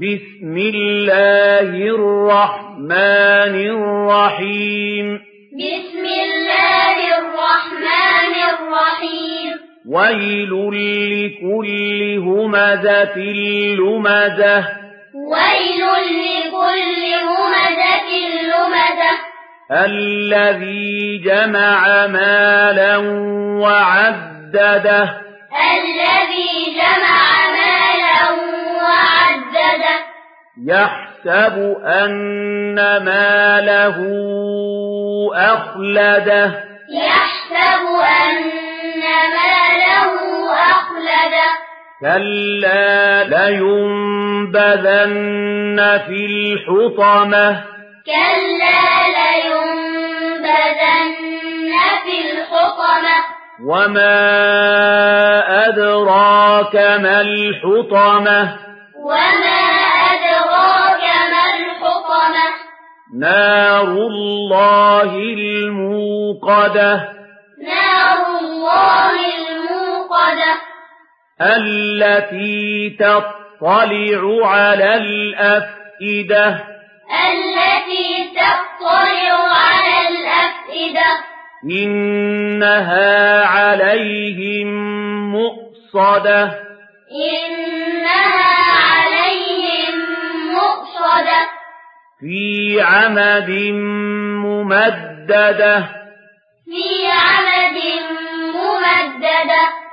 بسم الله الرحمن الرحيم بسم الله الرحمن الرحيم ويل لكل همزة لمزة ويل لكل همزة لمزة الذي جمع مالا وعدده الذي جمع مالا وعدده يحسب أن ماله أخلده يحسب أن ماله أخلده كلا لينبذن في الحطمة كلا لينبذن في الحطمة وما أدراك ما الحطمة وما أدراك ما الحطمة نار الله الموقدة نار الله الموقدة التي تطلع على الأفئدة التي تطلع على الأفئدة إنها عليهم مؤصدة إنها عليهم مؤصدة في عمد ممددة في عمد ممددة